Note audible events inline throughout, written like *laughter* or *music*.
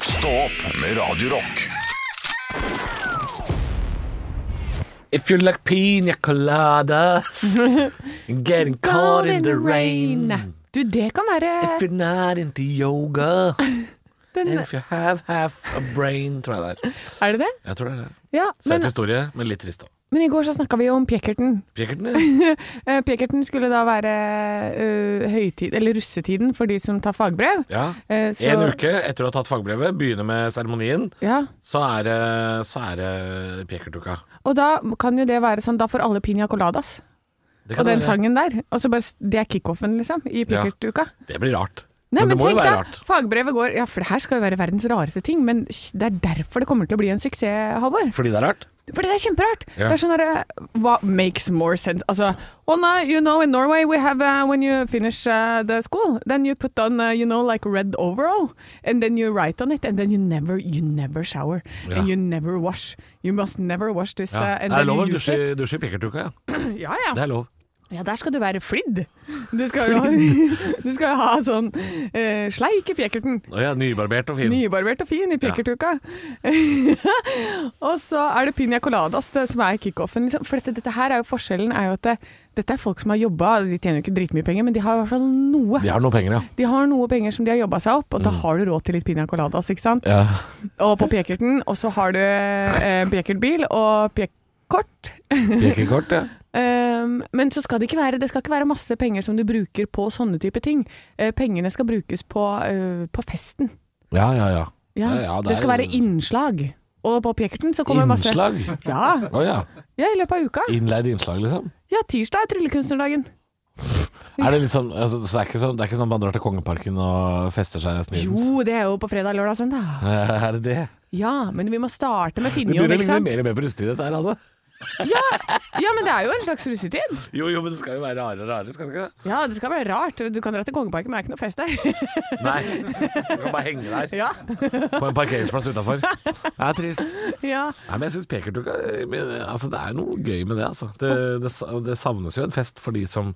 Stå opp med Radio Rock. If you like pina coladas, getting caught in the rain. Du, det kan være If you're not into yoga, and den, if you have half a brain, tror jeg det er. Er det det? Jeg tror det er det. Ja. Søt Men, historie, men litt trist òg. men i går så snakka vi jo om Pjekkerten. Pjekkerten, ja. Eh, Pjekkerten skulle da være eh, høytid, eller russetiden for de som tar fagbrev. ja. Eh, så- En uke etter å ha tatt fagbrevet, begynner med seremonien, Ja. så er det, så er det pjekertuka. Og da kan jo det være sånn, da får alle piña coladas. Det kan Og den være- sangen der. Og så bare, s- Det er kickoffen, liksom, i Pjekkertuka. Det blir rart. Nei, men, det må jo tenk være da, rart. fagbrevet går Ja, for det her skal jo være verdens rareste ting, men det er derfor det kommer til å bli en suksess, Halvor. Fordi det er rart? Fordi det er kjemperart. Ja. Det er sånn derre Hva makes more sense? Altså Oh no, you know in Norway we have uh, When you finish uh, the school, then you put on uh, you know like red overall, and then you write on it, and then you never you never shower, Ja. and you never wash. You must never wash this. Ja. Uh, and det er then lov å you use dusje, it. dusje i pjekertuka, ja. Ja, ja. Det er lov. Ja, der skal du være flidd. *laughs* Du skal jo ha, *laughs* du skal jo ha sånn eh, sleik i pjekkerten. Å ja, nybarbert og fin. Nybarbert og fin i pekkertuka. *laughs* og så er det piña coladas det som er kickoffen. Liksom. For dette, dette her er jo forskjellen er jo at det, dette er folk som har jobba, de tjener jo ikke dritmye penger, men de har i hvert fall noe. De har noe penger, ja. Mm. De har noe penger som de har jobba seg opp, og da har du råd til litt piña coladas, ikke sant? ja. Og på pekerten, og så har du eh, pekertbil og pekkort. Pjekekort, ja. Um, men så skal det, ikke være, det skal ikke være masse penger som du bruker på sånne type ting. Eh, pengene skal brukes på, eh, på festen. Ja, ja, ja. Ja, Ja, ja, det, det er skal jo- være innslag. Og på Pjekkerten så kommer masse Innslag? ja, Å ja. ja, i løpet av uka. Innleid innslag, liksom? Ja, tirsdag er tryllekunstnerdagen. Er det litt sånn, altså, så det, er ikke sånn det er ikke sånn man drar til Kongeparken og fester seg snidens? Jo, det er jo på fredag, lørdag, søndag. *laughs* Er det det? Ja, men vi må starte med Det Finjon, begynner å ikke ligne sant? mer og mer på russetid, dette her, Anne. Ja, men det er jo en slags russetid. Jo, jo, men det skal jo være rarere og rarere, skal det ikke det? Ja, det skal være rart. Du kan dra til Kongeparken, men det er ikke noe fest der. *laughs* Nei. Du kan bare henge der Ja, *laughs* på en parkeringsplass utafor. Det er trist. Nei, ja. men jeg syns pekertukka men, altså, Det er noe gøy med det, altså. Det, det, sa- det savnes jo en fest for de som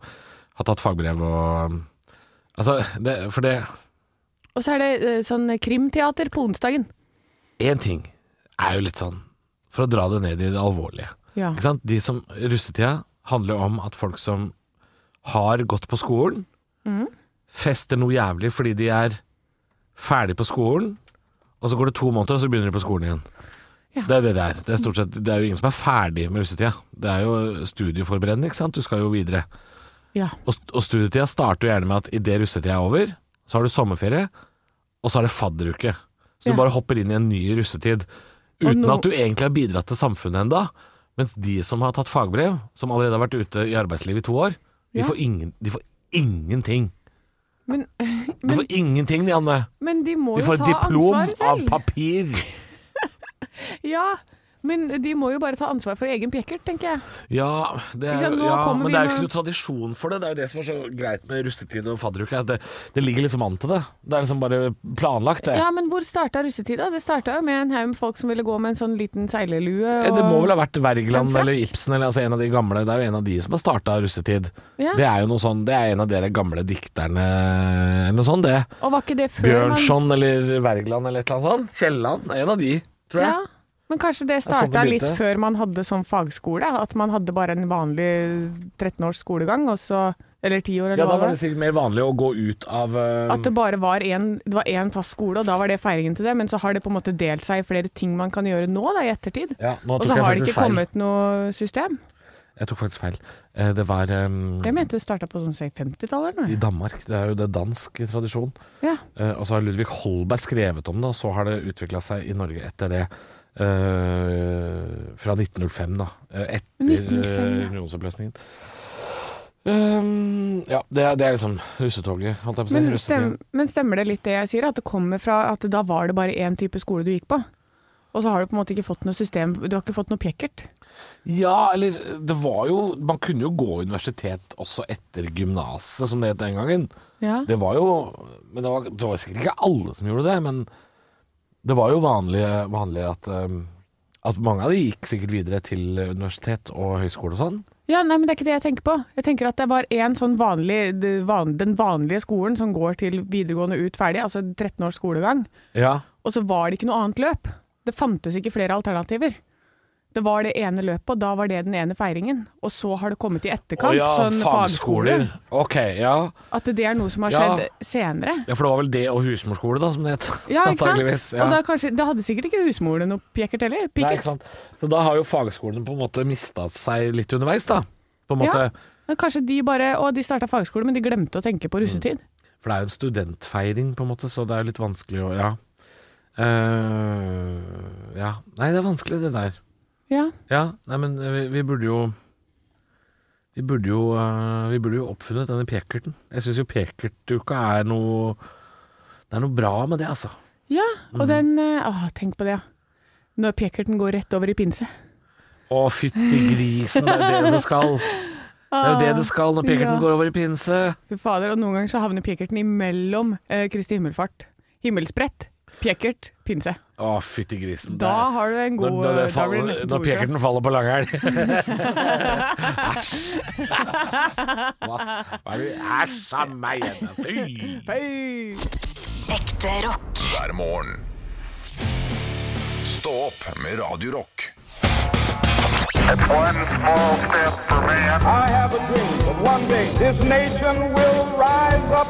har tatt fagbrev og Altså, det, for det Og så er det eh, sånn krimteater på onsdagen. Én ting er jo litt sånn, for å dra det ned i det alvorlige. Ja. Ikke sant? De som Russetida handler om at folk som har gått på skolen, fester noe jævlig fordi de er ferdig på skolen, og så går det to måneder, og så begynner de på skolen igjen. Ja. Det er det det er. Det er, stort sett, det er jo ingen som er ferdig med russetida. Det er jo studieforberedende, ikke sant. Du skal jo videre. Ja. Og, og studietida starter jo gjerne med at idet russetida er over, så har du sommerferie, og så er det fadderuke. Så Ja. du bare hopper inn i en ny russetid. Og Uten nå- at du egentlig har bidratt til samfunnet enda Mens de som har tatt fagbrev, som allerede har vært ute i arbeidslivet i to år, de, Ja. får, ingen, de får ingenting. Men, De får ingenting, de, Anne. men de må De jo får ta et diplom ansvaret av selv. papir. Ja, men de må jo bare ta ansvar for egen pjekkert, tenker jeg. Ja, det er, Ikke sant, nå ja kommer men vi det er jo med- ikke noe tradisjon for det. Det er jo det som er så greit med russetid og fadderuke. at Det, det ligger liksom an til det. Det er liksom bare planlagt, det. Ja, men hvor starta russetida? Det starta jo med en haug med folk som ville gå med en sånn liten seilelue. Ja, Eh, Det må vel ha vært En Wergeland frakk. eller Ibsen eller altså en av de gamle. Det er jo en av de som har starta russetid. Ja. Det er jo noe sånn, det er en av de der gamle dikterne eller noe sånt, det. Og var ikke det før Bjørnson eller Wergeland eller et eller annet sånt. Kielland, en av de, tror jeg. man ja. Men kanskje det er sånn det starta litt begynte. før man hadde sånn fagskole? At man hadde bare en vanlig 13 års skolegang, og så Eller 10 år, Ja, da eller hva var det det var. sikkert mer vanlig å gå ut av eh, At det bare var en- det var én fast skole, og da var det feiringen til det. Men så har det på en måte delt seg i flere ting man kan gjøre nå, da, i ettertid. ja, nå Og tok så jeg har det faktisk ikke kommet noe system. feil. Jeg tok faktisk feil. Eh, Det var eh, Jeg mente det starta på sånn si, 50-tallet eller i noe. Danmark. Det er jo det dansk i tradisjon. Ja. Eh, og så har Ludvig Holberg skrevet om det, og så har det utvikla seg i Norge etter det. eh, fra 1905, da. eh, etter 1905, ja. eh, unionsoppløsningen. Um, ja, det er, det er liksom russetoget, holdt jeg på å si. Men, stem, Russetiden. men stemmer det litt det jeg sier, at det kommer fra at da var det bare én type skole du gikk på? Og så har du på en måte ikke fått noe system, du har ikke fått noe pjekkert. Ja, eller det var jo Man kunne jo gå universitet også etter gymnaset, som det het den gangen. Ja. Det var jo Men det var, det var sikkert ikke alle som gjorde det, men det var jo vanlig, vanlig at, um, at mange av de gikk sikkert videre til universitet og høyskole og sånn. nei, men det er ikke det jeg tenker på. Jeg tenker at det var én sånn vanlig, det van- den vanlige skolen som går til videregående ut ferdig, altså 13 års skolegang. Ja. Og så var det ikke noe annet løp. Det fantes ikke flere alternativer. Det var det ene løpet, og da var det den ene feiringen. Og så har det kommet i etterkant, Å ja, sånn fagskole. fagskoler. Ok, ja. At det er noe som har Ja. skjedd senere. ja. For det var vel det og husmorskole, da, som det het. Ja, ikke sant? Antageligvis, ja. Og da kanskje, det hadde sikkert ikke husmorene noe pjekkert heller. Nei, Pikkert. ikke sant? Så da har jo fagskolene på en måte mista seg litt underveis, da. På en måte. Ja. Men kanskje de bare Å, de starta fagskole, men de glemte å tenke Mm. på russetid. For det er jo en studentfeiring, på en måte, så det er jo litt vanskelig å Ja. Eh, ja. Nei, det er vanskelig, det der. Ja. Ja, nei, men eh, vi, vi burde jo Vi burde jo eh, Vi burde jo oppfunnet denne pekerten. Jeg syns jo pekertuka er noe Det er noe bra med det, altså. ja. Og den eh, Å, tenk på det, ja. Når pjekkerten går rett over i pinse. Å, fytti grisen, det er det det skal. Det er jo det det skal når pekerten Ja. går over i pinse. Ah, Fy fader, og noen ganger så havner pjekkerten imellom eh, Kristi himmelfart. Himmelsbrett, pjekkert, pinse. Å, fytti grisen. Da har du en Når, god når, det da blir faller, når nesten to uker, da. pekerten faller på *laughs* langhelg. Æsj. Hva, hva er det Æsj a meg! Jenna. Fy! Fy! Ekte rock. hver morgen. Stå opp med Radio Rock. One small step for man. I have a dream that one day this nation will rise up.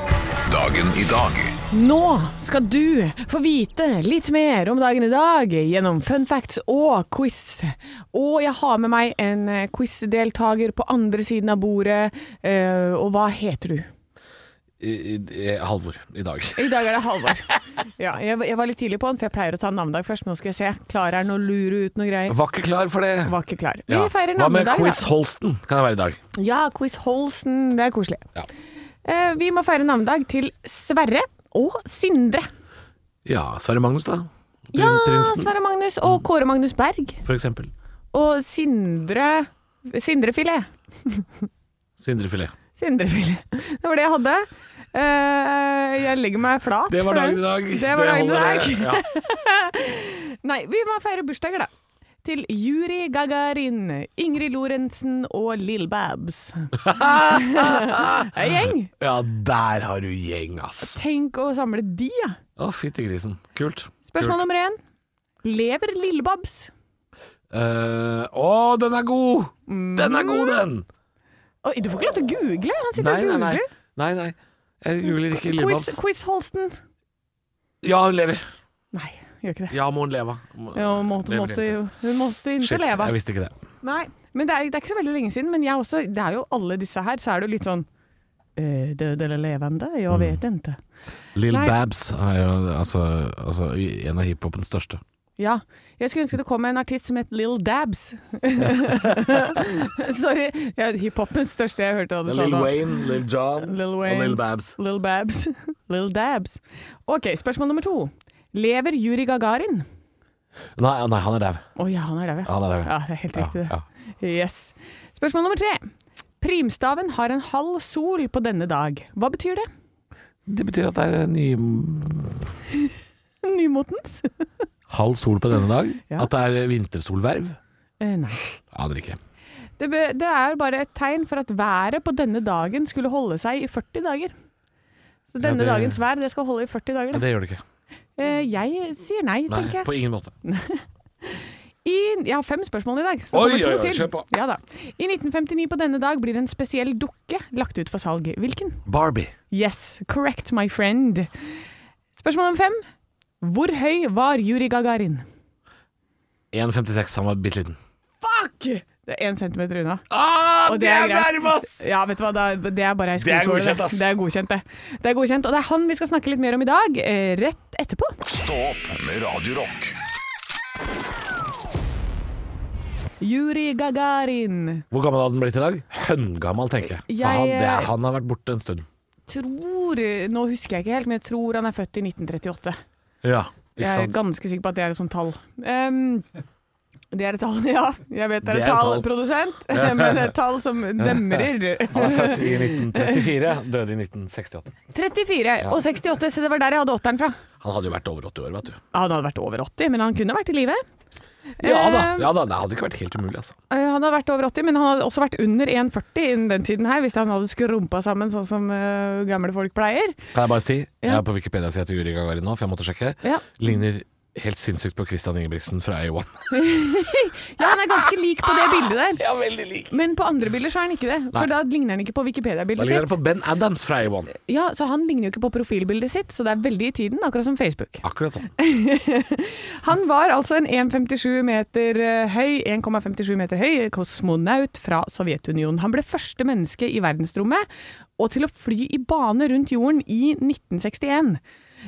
Dagen i dag Nå skal du få vite litt mer om dagen i dag gjennom fun facts og quiz. Og jeg har med meg en eh, quizdeltaker på andre siden av bordet. Eh, og hva heter du? I- i- Halvor i dag. I dag er det Halvor. *laughs* Ja, jeg, jeg var litt tidlig på den, for jeg pleier å ta navnedag først. Men nå skal jeg se. Klarer han å lure ut noe greier? Var ikke klar for det. Var ikke klar. Vi Ja. feirer Hva med navnedag, Quiz da. Holsten? Kan jeg være i dag? Ja, quiz Holsen. Det er koselig. Ja. Eh, vi må feire navnedag til Sverre og Sindre. Ja, Sverre Magnus, da. Prin- Ja, Prinsen, Sverre Magnus og Kåre Magnus Berg. for eksempel. Og Sindre Sindrefilet. Sindrefilet. Sindrefilet. Det var det jeg hadde. Eh, jeg legger meg flat. Det var for dagen i dag. Det var dagen i holder dag. det. Ja. Nei, vi må feire bursdager, da. Til Juri Gagarin, Ingrid Lorentzen og Lill *laughs* Babs. Ei gjeng! ja, der har du gjeng, ass. Tenk å samle de, ja. Å, fytti grisen. Kult. Spørsmål Kult. nummer én. Lever Lille Babs? Eh, å, den er god! Den er god, den! Oi, du får ikke lov til å google! Han Mm. sitter Nei, og nei, nei. googler. nei, nei. Jeg googler ikke Quiz, Lillebabs. quiz Holsten. Ja, hun lever. Nei, gjør ikke det. Ja, må hun leve. Må- Jo, måtte, lever måtte, jenta. jo. Hun måtte Shit, ikke leve. jeg visste ikke det. Nei, men det er, det er ikke så veldig lenge siden. Men jeg også, det er jo alle disse her, så er det jo litt sånn «Eh, Død eller levende? Jeg vet ikke. Lill Nei. Babs er jo altså, altså, en av hiphopens største. Ja. Jeg skulle ønske det kom en artist som het Lill *laughs* Dabs. Sorry. Ja, Hiphopens største jeg hørte hva du sa nå. Wayne, Lill John Lil Wayne. Babs. Lill Babs. *laughs* Lill Dabs. OK, spørsmål nummer to. Lever Juri Gagarin? Nei, nei, han er dau. Å ja, han er der, Han er dau. Ja, det er helt riktig, det. Ja, Yes. Spørsmål nummer tre. Primstaven har en halv sol på denne dag. Hva betyr det? Det betyr at det er ny Nymotens? halv sol på denne dag. Ja. At det er vintersolverv. Eh, nei. Aner ikke. Det, be, det er bare et tegn for at været på denne dagen skulle holde seg i 40 dager. Så denne det- dagens vær, det skal holde i 40 dager. Nei, Da. det gjør det ikke. Eh, jeg sier nei, Nei, tenker jeg. På ingen måte. I, jeg har fem spørsmål i dag. så det Oi, kommer to oi, oi, til. kjør på. Ja, da. I 1959 på denne dag blir en spesiell dukke lagt ut for salg. Hvilken? Barbie. Yes, correct my friend. Spørsmål nummer fem. Hvor høy var Juri Gagarin? 1,56. Han var bitte liten. Fuck! Det er én centimeter unna. Ah, Og det er greit. nærmest! Ja, vet du hva, da- det er bare ei er skosåle. godkjent, ass. Det er godkjent, det. Det er godkjent, og det er han vi skal snakke litt mer om i dag, eh, rett etterpå. Stå opp med Radio Rock Juri Gagarin. *laughs* Hvor gammel hadde han blitt i dag? Høngammal, tenker jeg. For Jeg- eh, han, det, er- han har vært borte en stund. Tror Nå husker jeg ikke helt, men jeg tror han er født i 1938. Ja, ikke Jeg er sant? ganske sikker på at det er et sånt tall. Ehm, det er et tall, *laughs* ja. Jeg vet det er Det er et et tall, tall. produsent, *laughs* men et tall *laughs* som demrer. Han er født i *laughs* 1934, døde i 1968. 34 og 68, så det var der jeg hadde åtteren fra. Han hadde jo vært over 80 år, vet du. Han hadde vært over 80, men han kunne vært i live. Ja da, Eh, ja da, det hadde ikke vært helt umulig, altså. Eh, Han hadde vært over 80, men han hadde også vært under 1,40 innen den tiden her, hvis han hadde skrumpa sammen sånn som eh, gamle folk pleier. Kan jeg bare si, jeg Ja. er på Wikipedia jeg heter Yuri Gagarin nå, for jeg måtte sjekke. Ja. Ligner helt sinnssykt på Christian Ingebrigtsen fra A1. Ja, han er ganske lik på det bildet der. *laughs* Ja, veldig lik. Men på andre bilder så er han ikke det. Nei. For da ligner han ikke Da på Wikipedia-bildet ligner det sitt. på Ben Adams fra A1. Ja, Så han ligner jo ikke på profilbildet sitt, så det er veldig i tiden, akkurat som Facebook. Akkurat sånn. Han var altså en 1,57 meter eh, høy, 1,57 meter høy kosmonaut fra Sovjetunionen. Han ble første menneske i verdensrommet og til å fly i bane rundt jorden i 1961.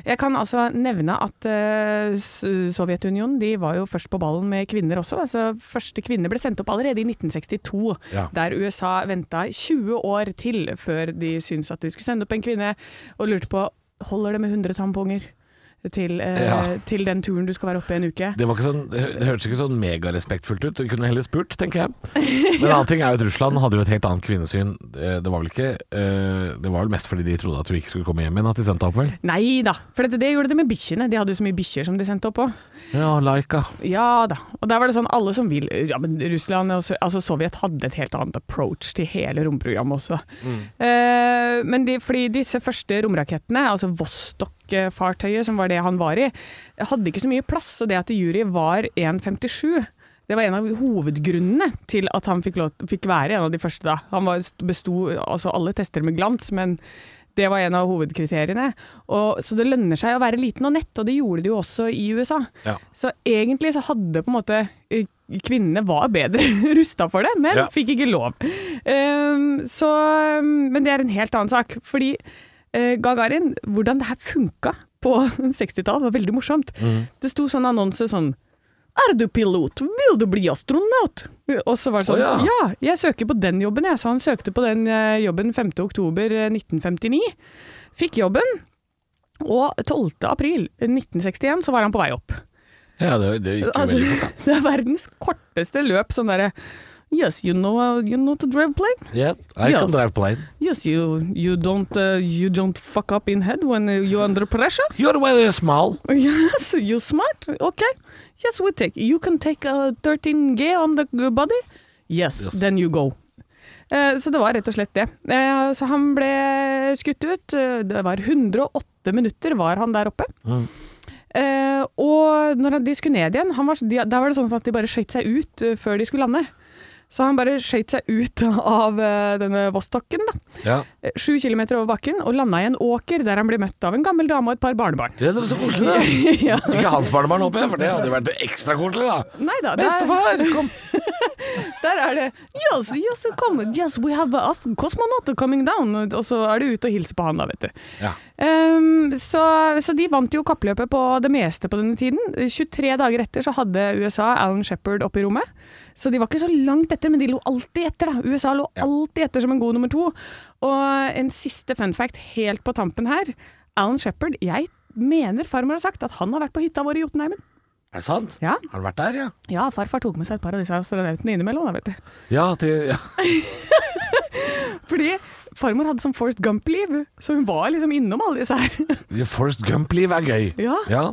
Jeg kan altså nevne at eh, S- Sovjetunionen de var jo først på ballen med kvinner også. altså Første kvinne ble sendt opp allerede i 1962, Ja. der USA venta 20 år til før de syntes at de skulle sende opp en kvinne, og lurte på holder det med 100 tamponger til, eh, Ja. til den turen du skal være oppe i en uke. Det, var ikke sånn, det hørtes ikke sånn megarespektfullt ut. Du kunne heller spurt, tenker jeg. Men en annen ting er jo at Russland hadde jo et helt annet kvinnesyn. Eh, Det var vel ikke eh, Det var vel mest fordi de trodde at du ikke skulle komme hjem igjen at de sendte deg opp, vel? Nei da, for det, det gjorde det med bikkjene. De hadde jo så mye bikkjer som de sendte opp òg. Ja, Laika. Ja da. Og der var det sånn alle som vil Ja, men Russland og Sov- altså Sovjet hadde et helt annet approach til hele romprogrammet også. Eh, men de, fordi disse første romrakettene, altså Vostok-fartøyet, som var det han var i, hadde ikke så mye plass, og det at Juri var 1,57 det var en av hovedgrunnene til at han fikk, lov, fikk være en av de første da. Han var, besto altså alle tester med glans, men det var en av hovedkriteriene. Og, så det lønner seg å være liten og nett, og det gjorde det jo også i USA. Ja. Så egentlig så hadde på en måte eh, Kvinnene var bedre *laughs* rusta for det, Ja. men fikk ikke lov. Ehm, så, um, men det er en helt annen sak. Fordi eh, Gagarin, hvordan det her funka på *laughs* 60-tallet, var veldig morsomt. Mhm. Det sto sånn annonse sånn Er du pilot? Vil du bli astronaut? Og så var det Å, sånn ja. ja. jeg søker på den jobben, jeg. Så han søkte på den eh, jobben 5. oktober eh, 1959. Fikk jobben. Og 12. april 1961 så var han på vei opp. Ja, det, det gikk jo Altså, veldig fort. *laughs* det er verdens korteste løp. Sånn derre Yes, you know, uh, you know to drive plane. Yeah, I Ja, can altså. drive plane. Yes, you, you, don't, uh, you don't fuck up in head when uh, you're under pressure. You're very small. *laughs* Yes, you're smart. Okay. Yes, we take. You can take uh, 13G on the body. Yes, Yes. then you go. Eh, Så det var rett og slett det. Eh, Så han ble skutt ut. Eh, Det var 108 minutter var han der oppe. Eh, og når han- de skulle ned igjen, han var, de, da var det sånn at de bare skøyt seg ut eh, før de skulle lande. Så han bare skøyt seg ut *laughs* av eh, denne Vostokken, da. Ja. Eh, Sju kilometer over bakken, og landa i en åker der han ble møtt av en gammel dame og et par barnebarn. Det er så koselig, da. *laughs* ja. Ikke hans barnebarn håper jeg, for det hadde jo vært ekstra koselig, da. Nei da, Bestefar, kom. *laughs* Der er det Yes, yes, come. Yes, we have a cosmonaut coming down. Og så er det ute og hilse på han, da, vet du. Ja. Ehm, så, så de vant jo kappløpet på det meste på denne tiden. 23 dager etter så hadde USA Alan Shepherd oppe i rommet. Så de var ikke så langt etter, men de lå alltid etter. da. USA lå alltid etter som en god nummer to. Og en siste fun fact helt på tampen her. Alan Shepherd, jeg mener farmor har sagt at han har vært på hytta vår i Jotunheimen. Er det sant? Ja. Har han vært der, ja? Ja, farfar tok med seg et par av disse astronautene innimellom, da, vet du. Ja, til, ja. Fordi farmor hadde sånn Forrest Gump-liv, så hun var liksom innom alle disse her. *laughs* Forest Gump-liv er gøy. Ja.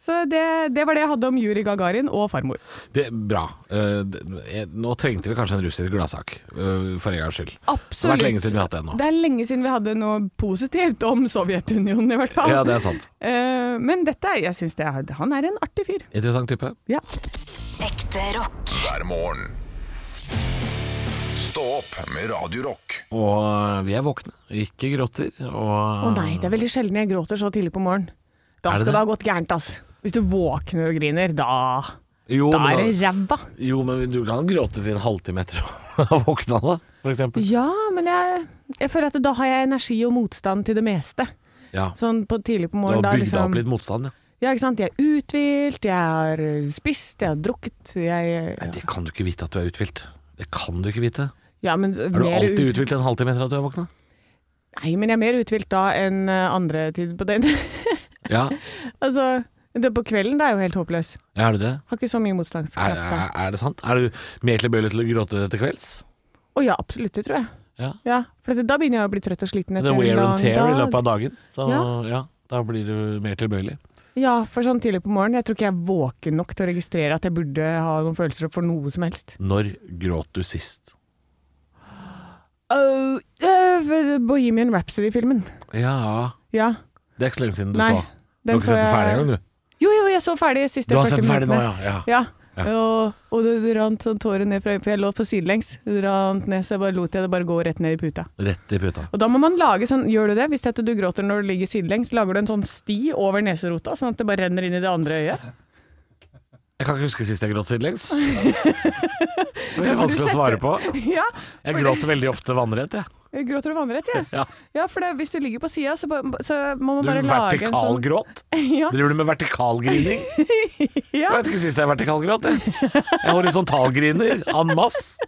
Så det, det var det jeg hadde om Juri Gagarin og farmor. Det, bra. Eh, det, jeg, nå trengte vi kanskje en russisk gladsak, eh, for en gangs skyld. Det har vært lenge siden vi har hatt det nå. Det er lenge siden vi hadde noe positivt om Sovjetunionen, i hvert fall. Ja, det er sant. Eh, men dette, jeg syns det er Han er en artig fyr. Interessant type. Ja. Ekte rock. hver morgen. Stå opp med Radio Rock. Og eh, vi er våkne, ikke gråter. Og Å nei, det er veldig sjelden jeg gråter så tidlig på morgenen. Da Er det skal det det? ha gått gærent, ass. Hvis du våkner og griner, da, jo, da er det men, ræva. jo, men du kan gråte til en halvtime etter å *laughs* ha våkna, da, for eksempel. Ja, men jeg, jeg føler at da har jeg energi og motstand til det meste. Ja. Sånn på tidlig på Du har morgenen. da bygd liksom- opp litt motstand, ja. Ja, ikke sant? Jeg er uthvilt, jeg har spist, jeg har drukket jeg, Nei, det kan du ikke vite at du er uthvilt. Det kan du ikke vite. ja, men Er du mer alltid ut- uthvilt en halvtime etter at du er våkna? Nei, men jeg er mer uthvilt da enn eh, andre tider på døgnet. *laughs* Ja, altså, det på kvelden da er jeg jo helt håpløs. er du det? Har ikke så mye Er, motstandskraft da. er, er det sant? Er du mer tilbøyelig til å gråte til kvelds? Å ja, absolutt, det tror jeg. Ja. for det, da begynner jeg å bli trøtt og sliten Det etter er wear and tear i løpet da, av dagen. Så ja. Ja. da blir du mer tilbøyelig. Ja, for sånn tidlig på morgenen. Jeg tror ikke jeg er våken nok til å registrere at jeg burde ha noen følelser for noe som helst. Når gråt du sist? Øh, øh, Bohemian Rhapsody-filmen. Ja Ja. Det er ikke så lenge siden du Nei, så. Du har ikke sett den ferdig engang, du? Jo, jo, jeg så ferdig sist. Du har sett den ferdig nå, ja. ja. Ja. Og, og det, det rant sånn tårer ned fra øyet, for jeg lå på sidelengs. Det rant ned, så jeg bare lot jeg det bare gå rett ned i puta. Rett i puta. Og da må man lage sånn, gjør du det, hvis dette du gråter når du ligger sidelengs, lager du en sånn sti over neserota, sånn at det bare renner inn i det andre øyet? *laughs* Jeg kan ikke huske sist jeg gråt sidelengs. Det er Ja, veldig for du vanskelig å svare på. ja. Jeg gråter veldig ofte vannrett, jeg. Jeg Gråter du vannrett, jeg? Ja. Ja, for det, hvis du ligger på sida, så, ba- så må man Du bare lage en sånn vertikalgråt? *laughs* Ja. Driver du med vertikalgrining? Jeg ja. vet ikke sist jeg vertikalgråt, jeg. Jeg horisontalgriner en masse.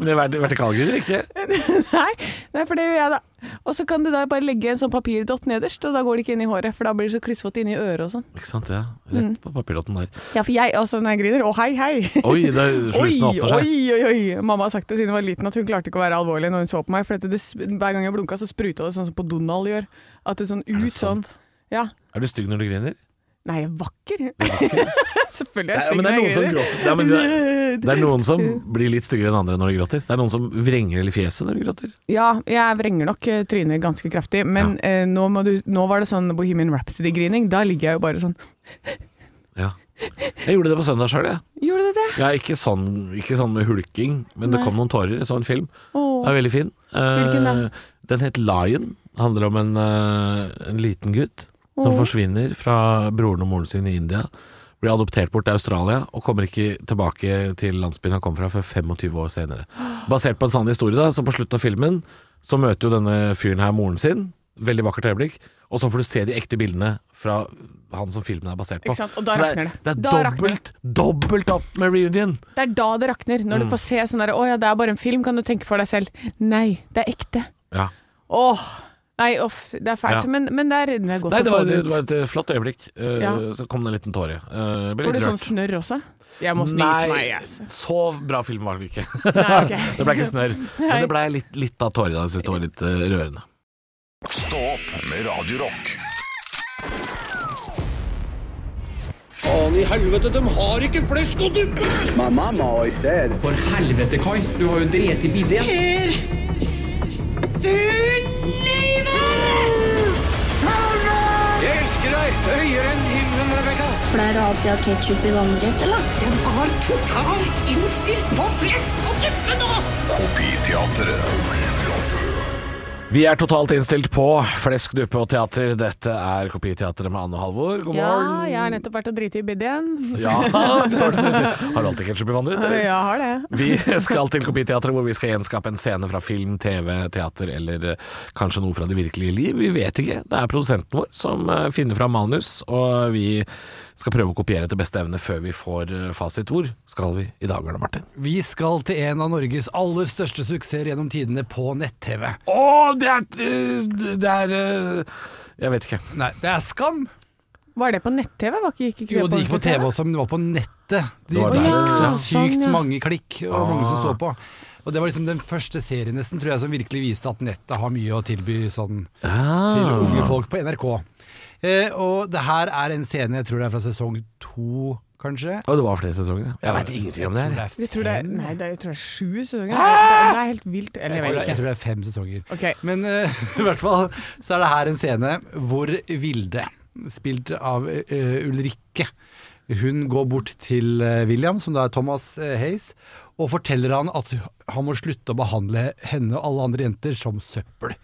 Men jeg vert- vertikalgriner ikke. *laughs* Nei, nei, for det gjør jeg, da. Og så kan du da bare legge en sånn papirdott nederst, og da går det ikke inn i håret, for da blir det så klissvått inni øret og sånn. Ikke sant, ja. Rett på papirlotten der. Ja, for jeg også når jeg griner. Å, hei, hei. Oi, det er slusene Oi, åpner seg. oi, oi, oi. Mamma har sagt det siden jeg var liten, at hun klarte ikke å være alvorlig når hun så på meg. For at det, hver gang jeg blunka, så spruta det sånn som på Donald gjør. At det sånn ut sånn. sant? Ja. Er du stygg når du griner? Nei, jeg er vakker. *laughs* Selvfølgelig Nei, er jeg stygg men det er når noen som jeg griner. gråter. Nei, men det, er- *laughs* det er noen som blir litt styggere enn andre når de gråter. Det er noen som vrenger eller fjeset når de gråter. Ja, jeg vrenger nok eh, trynet ganske kraftig, men eh, nå, må du, nå var det sånn Bohemian Rhapsody-grining. Da ligger jeg jo bare sånn Ja. Jeg gjorde det på søndag sjøl, jeg. Gjorde du det? Ja, ikke sånn, ikke sånn med hulking, men det Nei. kom noen tårer. Jeg så en film. Åh. Den er veldig fin. Eh, Hvilken da? Den het Lion. Handler om en, eh, en liten gutt som Åh. forsvinner fra broren og moren sin i India. Blir adoptert bort til Australia og kommer ikke tilbake til landsbyen han kom fra før 25 år senere. Basert på en sann historie, da, så på slutten av filmen så møter jo denne fyren her moren sin. Veldig vakkert øyeblikk. Og så får du se de ekte bildene fra han som filmen er basert på. Ikke sant? Og da så det rakner er, det. det er Da rakner dobbelt, dobbelt opp med reunion. Det er da det rakner. Når du får se sånn der Å ja, det er bare en film, kan du tenke for deg selv. Nei, det er ekte. Ja. Åh. Nei, uff. Det er fælt, Ja. men, men det er det er godt Nei, det å var, få det det ut. var et eh, flott øyeblikk. Eh, Ja. Så kom det en liten tåre. Eh, ble Får litt du sånn rørt. snørr også? Jeg må snyte meg. Nei, *laughs* jeg. altså. så bra film var det ikke. *laughs* Nei, ok. det ble ikke *laughs* snørr. Men det ble litt, litt av tårer. da. Jeg syns det var litt eh, rørende. Stå opp med Radio Rock. Faen i helvete, de har ikke flesk og duppe! My mama always said, For helvete, Kai. Du har jo drept i bidé. Jeg elsker deg høyere enn himmelen, Rebekka. Pleier du alltid å ha ketsjup i vannrett, eller? Jeg var totalt innstilt på flesk og duppe nå! Kopiteatret. Vi er totalt innstilt på flesk, duppe og teater. Dette er Kopiteatret med Anne og Halvor. God Ja, morgen. jeg har nettopp vært og driti i bidden. Ja, *laughs* du har, har du alltid ketsjup i *laughs* vandret? eller? Jeg har det. Vi *laughs* skal til Kopiteatret, hvor vi skal gjenskape en scene fra film, TV, teater eller eh, kanskje noe fra det virkelige liv. Vi vet ikke. Det er produsenten vår som eh, finner fram manus, og vi skal prøve å kopiere etter beste evne før vi får eh, fasit. Hvor skal vi i dag, Arne Martin? Vi skal til en av Norges aller største suksesser gjennom tidene på nett-TV. Å, det er eh, Det er Jeg vet ikke. Nei, det er Skam! Var det på nett-TV? Var ikke, gikk ikke Jo, det gikk på ordentlig TV også, men det var på nettet. Det Det var var der, Ah. ikke så ja. Sånn, sykt ja. mange klikk og mange som så på. Og det var liksom den første serien nesten, tror jeg, som virkelig viste at nettet har mye å tilby sånn Ah. til Ah. unge folk på NRK. Eh, og det her er en scene, jeg tror det er fra sesong to, kanskje. Og det var flere sesonger. ja. Jeg veit ingenting om det her. Jeg Jeg tror tror det er, fem. nei, det er, jeg tror det er sju sesonger. Det er, det er helt vilt. Eller Mm. Jeg jeg tror, det- jeg vet ikke. tror det er fem sesonger. Ok. Men *laughs* eh, i hvert fall så er det her en scene hvor Vilde, spilt av eh, Ulrikke, hun går bort til eh, William, som da er Thomas eh, Hayes, og forteller han at han må slutte å behandle henne og alle andre jenter som søppel.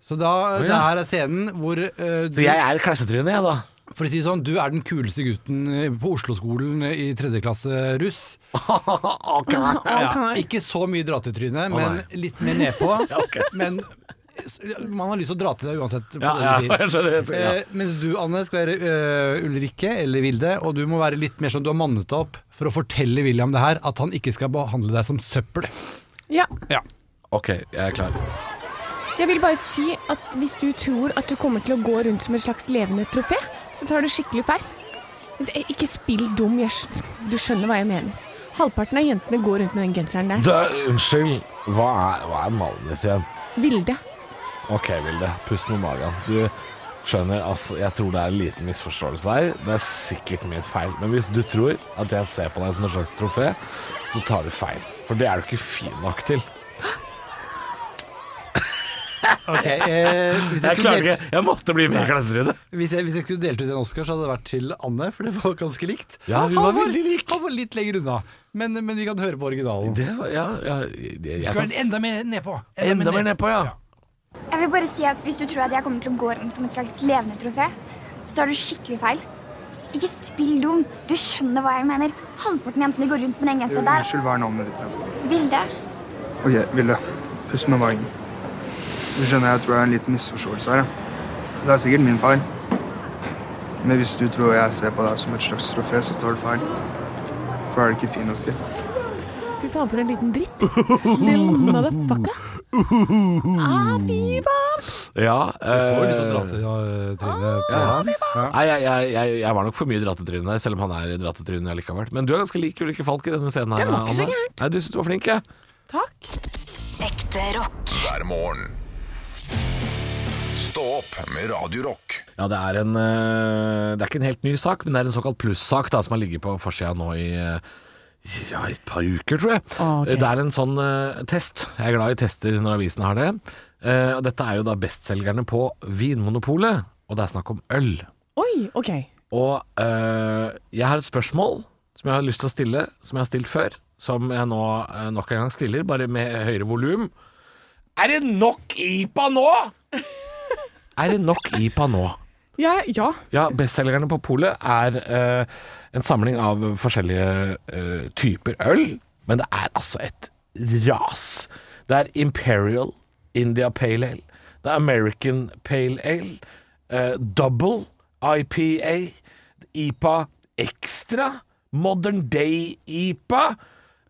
Så da, det her er scenen hvor eh, du, Så jeg er klassetrynet, jeg, da. for å si det sånn, du er den kuleste gutten eh, på Oslo-skolen eh, i tredje klasse russ. ok. *laughs* Ja, ikke så mye dra til trynet, men nei. litt mer *laughs* nedpå. Men s- man har lyst til å dra til deg uansett. Ja, hva ja, *laughs* du sier. jeg skjønner det. Ja. Eh, mens du, Anne, skal være eh, Ulrikke eller Vilde, og du må være litt mer sånn du har mannet deg opp for å fortelle William det her, at han ikke skal behandle deg som søppel. Ja. Ja. Ok, jeg er klar. Jeg vil bare si at hvis du tror at du kommer til å gå rundt som en slags levende trofé, så tar du skikkelig feil. Men det- Ikke spill dum, jeg, skj- du skjønner hva jeg mener. Halvparten av jentene går rundt med den genseren der. Du, unnskyld, hva er, hva er navnet ditt igjen? Vilde. Ok, Vilde, pust med magen. Du, Skjønner, altså, jeg tror det er en liten misforståelse her. Det er sikkert min feil. Men hvis du tror at jeg ser på deg som en slags trofé, så tar du feil. For det er du ikke fin nok til. Ok, eh, Jeg hvis, jeg skulle klarer delt, ikke. Jeg måtte bli med i klasserunde. hvis, jeg, hvis jeg skulle delt ut en Oscar, så hadde det vært til Anne, for det var ganske likt. Ja, hun var han, var, veldig lik. han var litt lenger unna, men, men vi kan høre på originalen. Det var Ja, ja jeg, jeg, Skal være kan, enda mer nedpå. Enda mer nedpå, ja. Jeg vil bare si at Hvis du tror at jeg kommer til å gå rundt som et slags levende trofé, så tar du skikkelig feil. Ikke spill dum. Du skjønner hva jeg mener. Halvparten av jentene går rundt med den gensa der. hva er navnet ditt? Vilde. Ok, Vilde. Pust med magen. Du skjønner, jeg tror det er en liten misforståelse her. ja. Det er sikkert min feil. Men hvis du tror jeg ser på deg som et slags trofé, så tar du feil. For er du ikke fin nok til. Fy faen, for en liten dritt. Little motherfucker. Ah, fy faen. ja Jeg får eh, litt sånn drattetryne på han. Nei, jeg, jeg, jeg, jeg var nok for mye drattetryne der, selv om han er drattetryne likevel. Men du er ganske lik Ulrikke Falk i denne scenen. her Det var ikke så Anne. gærent. Nei, du syns du var flink, jeg. Takk. Ekte rock. hver morgen. Stå opp med Radio Rock. Ja, det er en eh, Det er ikke en helt ny sak, men det er en såkalt plussak da, som har ligget på forsida nå i eh, ja, et par uker, tror jeg. Ah, ok. Det er en sånn eh, test. Jeg er glad i tester når avisene har det. Eh, og dette er jo da bestselgerne på Vinmonopolet, og det er snakk om øl. Oi, OK. Og eh, jeg har et spørsmål som jeg har lyst til å stille, som jeg har stilt før, som jeg nå eh, nok en gang stiller, bare med høyere volum. Er det nok IPA nå?! er det nok IPA nå? Ja, ja. Ja, bestselgerne på polet er eh, en samling av forskjellige eh, typer øl, men det er altså et ras. Det er Imperial, India Pale Ale, det er American Pale Ale, eh, Double, IPA, IPA Extra, Modern Day IPA.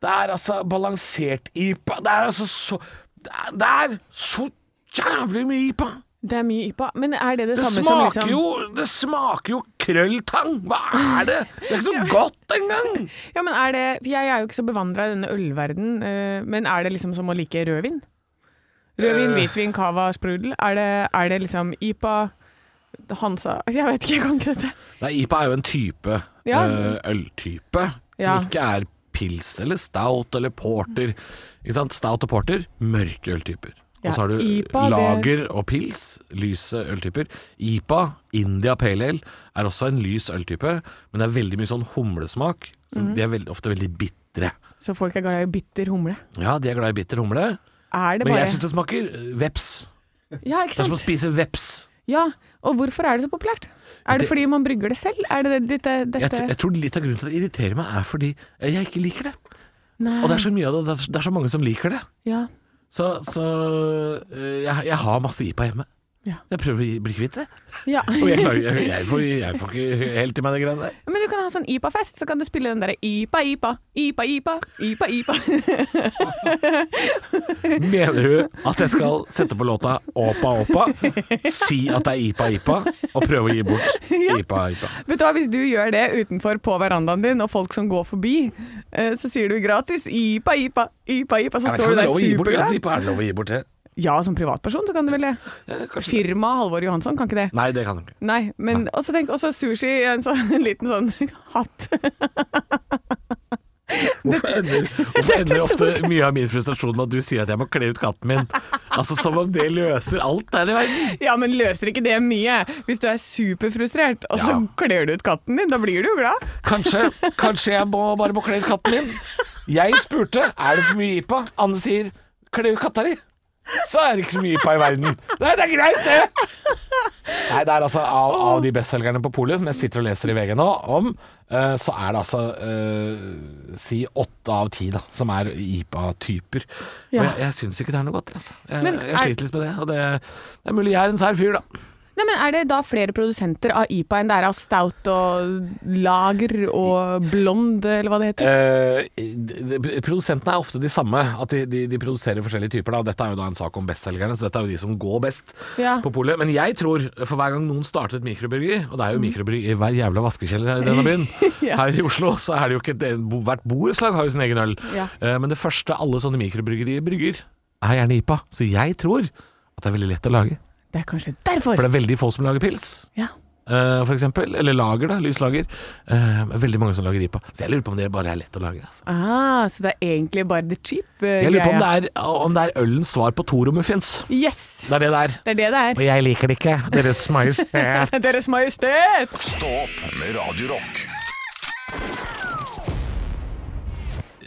Det er altså balansert IPA. Det er altså så Det er, det er så jævlig mye IPA! Det er mye IPA. Men er det det, Det samme som smaker liksom jo Det smaker jo krølltang! Hva er det? Det er ikke noe godt engang! Ja, men er det for Jeg er jo ikke så bevandra i denne ølverden, eh, men er det liksom som å like rødvin? Eh. Rødvin, hvitvin, cava, sprudel? Er det, er det liksom IPA, Hansa Altså, Jeg vet ikke, jeg kan ikke dette. Nei, IPA er jo en type Ja. eh, øltype som Ja. ikke er pils eller stout eller porter. Ikke sant? Stout og porter, mørke øltyper. Ja, og så har du IPA, det- lager og pils, lyse øltyper. IPA, India Pale Ale, er også en lys øltype, men det er veldig mye sånn humlesmak. Så Mhm. De er veldig, ofte veldig bitre. Så folk er glad i bitter humle. Ja, de er glad i bitter humle, Er det men bare jeg syns det smaker eh, veps. Ja, ikke Det er som å sant? spise veps. Ja, og hvorfor er det så populært? Er det, Det- fordi man brygger det selv? Er det det- dette, dette? Jeg, tr- jeg tror litt av grunnen til at det irriterer meg, er fordi eh, jeg ikke liker det. Nei. Og det er så mye av det, det er så, det er så mange som liker det. Ja. Så, så øh, jeg, jeg har masse IPA hjemme. Ja. Jeg prøver å gi- bli kvitt det. ja. Og jeg, klarer, jeg, jeg, får, jeg får ikke helt i meg de greiene der. *laughs* Men du kan ha sånn IPA-fest, så kan du spille den derre IPA, IPA, IPA, IPA, IPA, IPA. Mener du at jeg skal sette på låta Åpa Åpa, si at det er IPA IPA, og prøve å gi bort IPA IPA? Vet du hva, Hvis du gjør det utenfor på verandaen din, og folk som går forbi, eh, så sier du gratis IPA, IPA, IPA, IPA, så Jeg vet står ikke om du det der er lov å gi bort superglad. gratis IPA. Er det lov å gi bort det? Ja, som privatperson så kan du vel det. Firma Halvor Johansson kan ikke det. Nei, det kan du ikke. Nei, men også tenk, også sushi *laughs* i en sånn en liten sånn *laughs* hatt. Hvorfor ender, hvorfor ender ofte mye av min frustrasjon med at du sier at jeg må kle ut katten min? Altså Som om det løser alt der i verden. Ja, men løser ikke det mye hvis du er superfrustrert, og så Ja. kler du ut katten din? Da blir du jo glad. Kanskje, kanskje jeg må bare må kle ut katten min? Jeg spurte er det for mye IPA. Anne sier kle ut katta di. Så er det ikke så mye IPA i verden. Nei, det er greit, det! Nei, det er altså Av, av de bestselgerne på polet som jeg sitter og leser i VG nå om, eh, så er det altså eh, si åtte av ti da, som er IPA-typer. Ja. Og jeg, jeg syns ikke det er noe godt. Altså. Jeg, Men jeg er- sliter litt med det. Og det, det er mulig jeg er en sær fyr, da. Nei, men Er det da flere produsenter av IPA enn det er av stout og lager og blond, eller hva det heter? Eh, de- de- produsentene er ofte de samme, at de, de, de produserer forskjellige typer. Da. Og Dette er jo da en sak om bestselgerne, så dette er jo de som går best Ja. på polet. Men jeg tror, for hver gang noen starter et mikrobryggeri, og det Mm. er jo mikrobryggeri i hver jævla vaskekjeller her i denne *laughs* byen Her i Oslo så er det jo ikke det, Hvert borettslag har jo sin egen øl. Ja. Eh, men det første alle sånne mikrobryggerier brygger, er gjerne IPA. Så jeg tror at det er veldig lett å lage. Det er kanskje derfor. For det er veldig få som lager pils, Ja. eh, for eksempel. Eller lager, da. Lys lager. Eh, veldig mange som lager IPA. Så jeg lurer på om det bare er lett å lage. Altså. Ah, så det er egentlig bare the cheap eh, Jeg lurer på om det er, greia. om det er ølens svar på Toro Muffins. Yes! Det er det det er. Det er det det Og jeg liker det ikke. Deres majestet. er. Deres Majestet! Altså, Stå opp med Radio Rock. *laughs*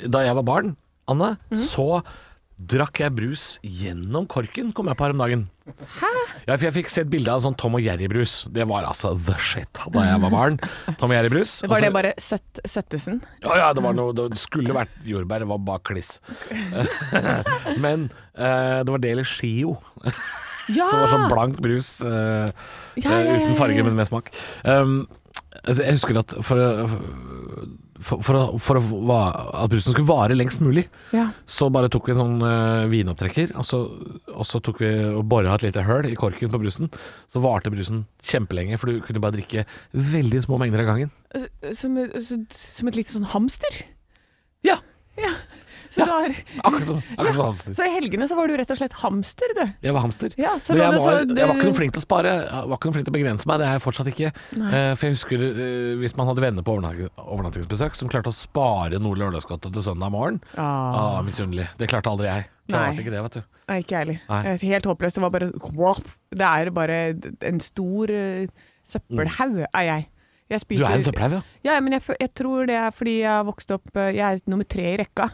Da jeg var barn, Anne, så drakk jeg brus gjennom korken, kom jeg på her om dagen. Ja, for jeg fikk sett bilde av sånn Tom og Jerry-brus. Det var altså the shit da jeg var *laughs* barn. Tom og Jerry-brus. Var Og det så- bare søtt, Søttesen? Ja, ja, det var noe Det skulle vært jordbær, det var bare *laughs* kliss. Men eh, det var det eller Shio, Ja! som var sånn blank brus eh, Ja, ja, ja, eh, uten farge, ja, ja. men med smak. Um, altså, jeg husker at for, for, for, å- for å va- at brusen skulle vare lengst mulig, Ja. så bare tok vi en sånn eh, vinopptrekker, og så, og så tok vi og bora et lite høl i korken på brusen. Så varte brusen kjempelenge, for du kunne bare drikke veldig små mengder av gangen. eh, Som, som- som et lite sånn hamster? Ja. Ja. Så, Ja. Du har, Akkurat som, akkurat som sånn hamster. så i helgene så var du rett og slett hamster, du. Jeg var hamster. Ja, så Men da jeg, det- var, så det- jeg var ikke noe flink til å spare, jeg var ikke noe flink til å begrense meg, det er jeg fortsatt ikke. Eh, for jeg husker eh, hvis man hadde venner på overnatting- overnattingsbesøk som klarte å spare noe lørdagsgodtet til søndag morgen. Ah, Ah. Misunnelig. Det klarte aldri jeg. Nei. Klarte ikke det, vet du. Nei, ikke jeg heller. Nei. Det er Helt håpløst. Det var bare Det er bare en stor eh, søppelhaug, er jeg. jeg Du spiser, er en søppelhaug, ja. Ja, men jeg, fø- jeg tror det er fordi jeg har vokst opp eh, Jeg er nummer tre i rekka.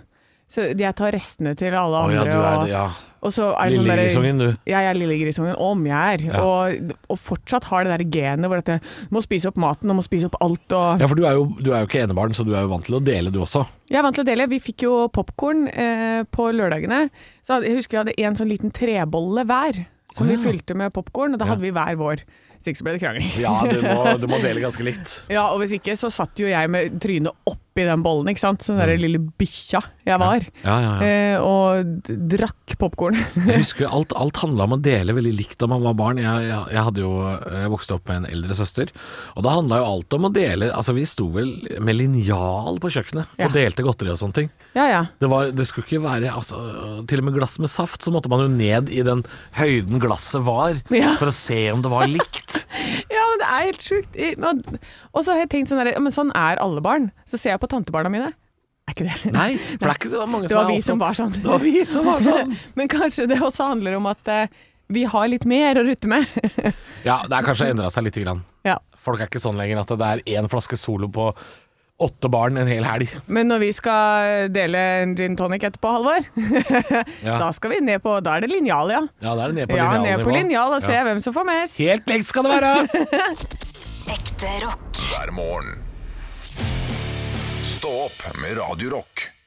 Så jeg tar restene til alle Å ja, andre. du er og- det, ja. Og så er det sånn der- Lillegrisungen, du. Ja, jeg er lillegrisungen, om jeg er. Og, og fortsatt har det der genet hvor at jeg må spise opp maten og må spise opp alt. Og Ja, for du er, jo, du er jo ikke enebarn, så du er jo vant til å dele, du *laughs* også. Jeg er vant til å dele. Vi fikk jo popkorn eh, på lørdagene. Så hadde, jeg husker vi hadde en sånn liten trebolle hver, som Å, ja. vi fylte med popkorn. Og da hadde vi hver vår. Så ikke så ble det krangling. Ja, du må, du må dele ganske likt. Ja, og hvis ikke så satt jo jeg med trynet oppi den bollen, ikke sant. Som den der lille bikkja jeg var. Mm. Ja, ja, ja. Eh, og d- drakk *laughs* popkorn. Jeg husker alt, alt handla om å dele veldig likt da man var barn. Jeg, jeg, jeg hadde jo jeg vokste opp med en eldre søster, og da handla jo alt om å dele Altså, vi sto vel med linjal på kjøkkenet Ja. og delte godteri og sånne ting. ja, ja. Det, var, det skulle ikke være altså, Til og med glass med saft, så måtte man jo ned i den høyden glasset var, Ja. for å se om det var *laughs* likt. Ja, men det er helt sjukt. I- men- Og så har jeg tenkt sånn der, ja, men sånn er alle barn. Så ser jeg på tantebarna mine. Er ikke det? Nei, for det er ikke så mange *laughs* Det som var er vi som åpent. var sånn. Det var vi som var sånn. *laughs* men kanskje det også handler om at eh, vi har litt mer å rutte med. *laughs* Ja, det er kanskje endra seg lite grann. ja. Folk er ikke sånn lenger at det er én flaske Solo på åtte barn en hel helg. Men når vi skal eh, dele en gin tonic etterpå, Halvor, Ja. da skal vi ned på Da er det linjal, ja. Ja, da er det ned på Ja, linjalen ned på nivå. linjal og se Ja. hvem som får mest. Helt likt skal det være! Ekte rock. hver morgen. Stå opp med Radio Rock.